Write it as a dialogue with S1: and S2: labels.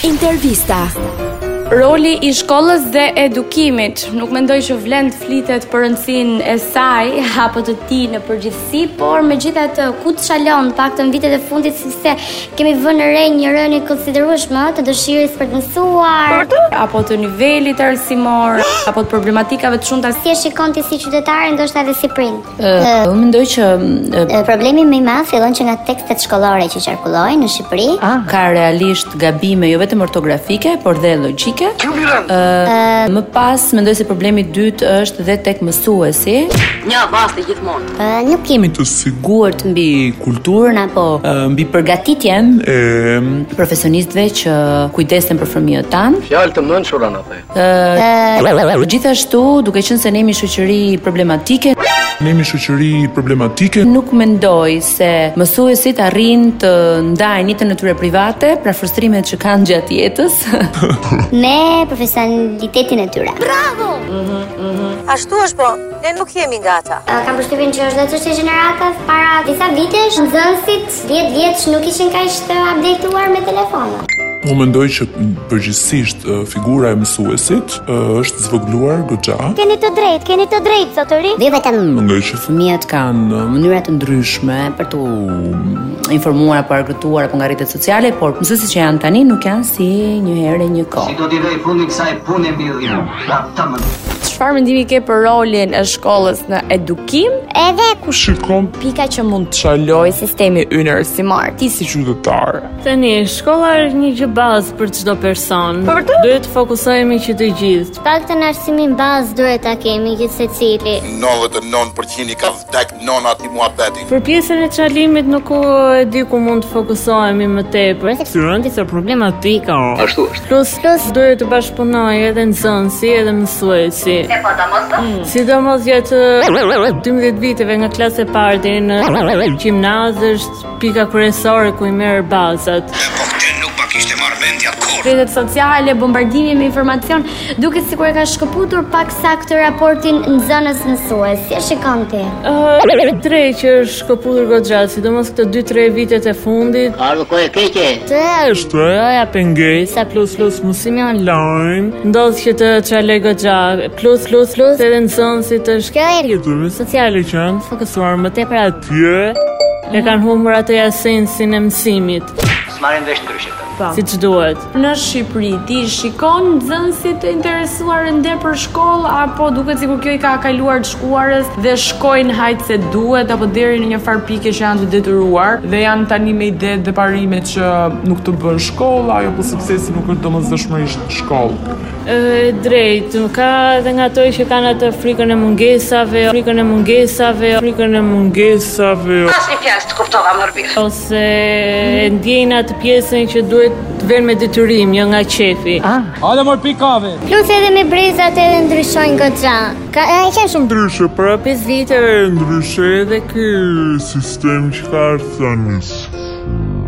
S1: Intervista.
S2: Roli i shkollës dhe edukimit nuk mendoj që vlen të flitet për rëndësinë e saj apo të tij në përgjithësi, por megjithatë ku të shalon paktën vitet e fundit sepse kemi vënë re një rënë konsiderueshme të dëshirës për të mësuar apo të nivelit arsimor apo të problematikave të shumta
S3: Si e shikon ti si qytetare, ndoshta edhe si prind.
S4: Ë, unë mendoj që ë,
S3: E, Problemi më i madh fillon që nga tekstet shkollore që qarkullojnë në Shqipëri,
S4: ka realisht gabime jo vetëm ortografike, por dhe logjike. Ë, më pas mendoj se problemi i dytë është dhe tek mësuesi,
S3: e, nuk kemi
S5: të sigurt
S4: guhet mbi kulturën apo ë, mbi përgatitjen
S5: e
S4: e profesionistëve që kujdesen për fëmijët tanë.
S6: Fjalë të mëndshura na the.
S4: Gjithashtu, duke qenë se ne jemi shoqëri problematike,
S5: ne jemi shoqëri problematike.
S4: nuk mendoj se mësuesit arrin të ndajnë jetën e tyre private, pra frustrimet që kanë gjatë jetës.
S3: me profesionalitetin e tyre.
S7: Ashtu është po, ne nuk jemi nga ata.
S3: E, Kam përshtypjen që është dhe çështje gjeneratës para disa vitesh, nxënësit 10 vjeç nuk ishin kaq të updateuar me telefona.
S5: Unë mendoj që përgjithsisht ë, figura e mësuesit ë, është zvogëluar goxha.
S3: Keni të drejtë, keni të drejtë zotëri. Dhe vetëm
S5: Mendoj që
S4: Fëmijët kanë uh, mënyra të ndryshme për të um, informuar apo argëtuar apo nga rrjetet sociale, por mësuesit që janë tani nuk janë si një herë e një kohë.
S8: do t'i vej fundi kësaj pune mirë. Ta të më
S2: Çfarë mendimi ke për rolin e shkollës në edukim?
S3: edhe
S5: ku shikon
S2: Pika që mund të shalojë sistemi ynë arsimor.
S5: ti si qytetar.
S9: Tani, shkolla është një gjë bazë për çdo person. Duhet të fokusohemi që të gjithë.
S3: pak të arsimin bazë duhet ta kemi gjithë secili.
S10: 99% i ka vdek nona ti mua beti.
S9: Për pjesën e çalimit nuk u e di ku mund të fokusohemi më tepër. Studenti është problematika.
S6: Ashtu është.
S9: Plus, plus duhet të bashkëpunojë edhe nxënësi edhe mësuesi. Mm. Sidomos gjatë 12 viteve nga klasa e parë deri në gjimnaz është pika kryesore ku i merr bazat.
S10: Po këtë nuk pa kishte marrë mendja kur.
S2: Rrjetet sociale, bombardimi me informacion, duket sikur e ka shkëputur paksa këtë raportin
S3: Nxënës mësues, si e shikon ti?
S9: Ë, tre që është shkëputur goxha, sidomos këto 2-3 vitet e fundit.
S8: Ardhë kohë e keqe.
S9: Shtraja pengesa plus plus mësimi online, ndodh që të çalë goxha, plus plus plus edhe nxënësit të shkëlqyer sociale që janë fokusuar më tepër aty. E kanë humbur atë esensin e mësimit,
S8: S'marrin vesh ndryshe.
S9: siç duhet.
S2: në Shqipëri. Ti shikon nxënësit të interesuar ende për shkollë apo duket sikur kjo i ka kaluar të shkuarës dhe shkojnë hajt se duhet apo deri në një far pike që janë të detyruar
S5: Dhe janë tani me ide dhe parime që nuk të bën shkolla, ajo po sepse si nuk është domosdoshmërisht shkollë.
S9: Ë drejt, ka edhe nga ato që kanë atë frikën e mungesave, frikën e mungesave, frikën e mungesave.
S7: Asnjë fjalë të kuptova më mirë.
S9: ose e ndjejnë atë pjesën që duhet të vënë me detyrim, jo nga qefi.
S3: Plus edhe me brezat edhe ndryshojnë goxha. Ka e ka shumë
S5: Ndryshe, para 5 viteve ndryshe edhe ky sistem që ka ardhur tani.